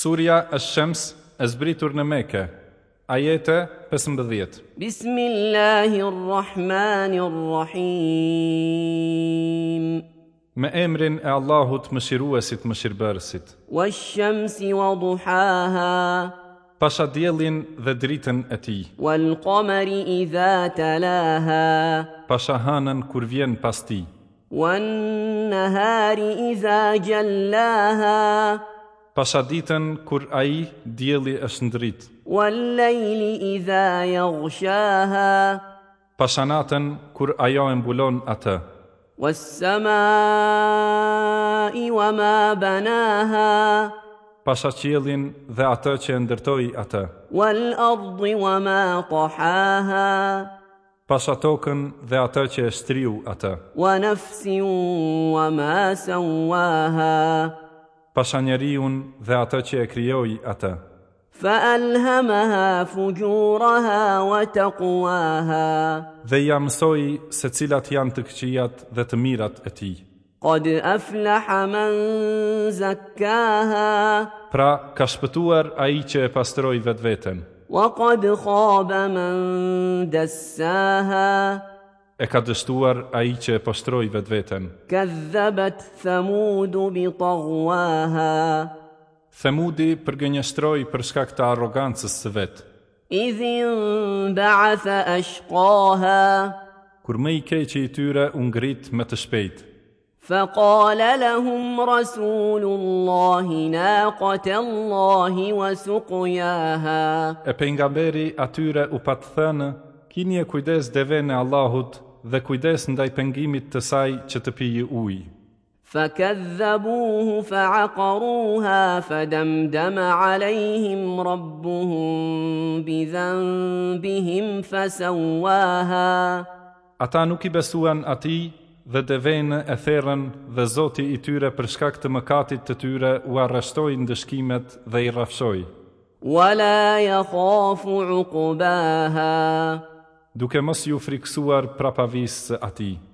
Surja është shems e zbritur në meke, ajete 15. بسم الله الرحمن الرحيم Me emrin e Allahut më shiruesit më shirëbërësit, والشمس وضحاها pasha djelin dhe dritën e ti, والقمر إذا تلاها pasha hanën kur vjen pas ti, والنهار إذا جلاها pasha ditën kur aji djeli është ndrit, والليل إذا يغشاها pasha natën kur ajo e mbulon atë, والسماء وما بناها pasha qjelin dhe atë që e ndërtoj atë, والأرض وما طحاها pasha tokën dhe atë që e shtriu atë, ونفس وما سواها pasha njeriun dhe atë që e kryoj atë, فألهمها فجورها وتقواها dhe ja mësoj se cilat janë të këqijat dhe të mirat e ti. قد أفلح من زكاها Pra, ka shpëtuar a i që e pastroj vetë vetën, وقد خاب من دساها e ka dështuar a i që e pastroj vetë vetën. كذبت ثمود بطغواها Themudi përgënjështroj për shkak të arrogancës së vetë, إذ انبعث أشقاها kur më i keqi i tyre u ngrit me të shpejt. فقال لهم رسول الله ناقة الله وسقياها E pejgamberi atyre u patë thënë, kini e kujdes devën e Allahut dhe kujdes ndaj pengimit të saj që të pijë ujë. فكذبوه فعقروها فدمدم عليهم ربهم بذنبهم فسواها Ata nuk i besuan ati dhe devenë e therën dhe zoti i tyre për shkak të mëkatit të tyre u arreshtoi ndëshkimet dhe i rafshoi, ولا يخاف عقباها duke mos ju friksuar prapavisë së ati.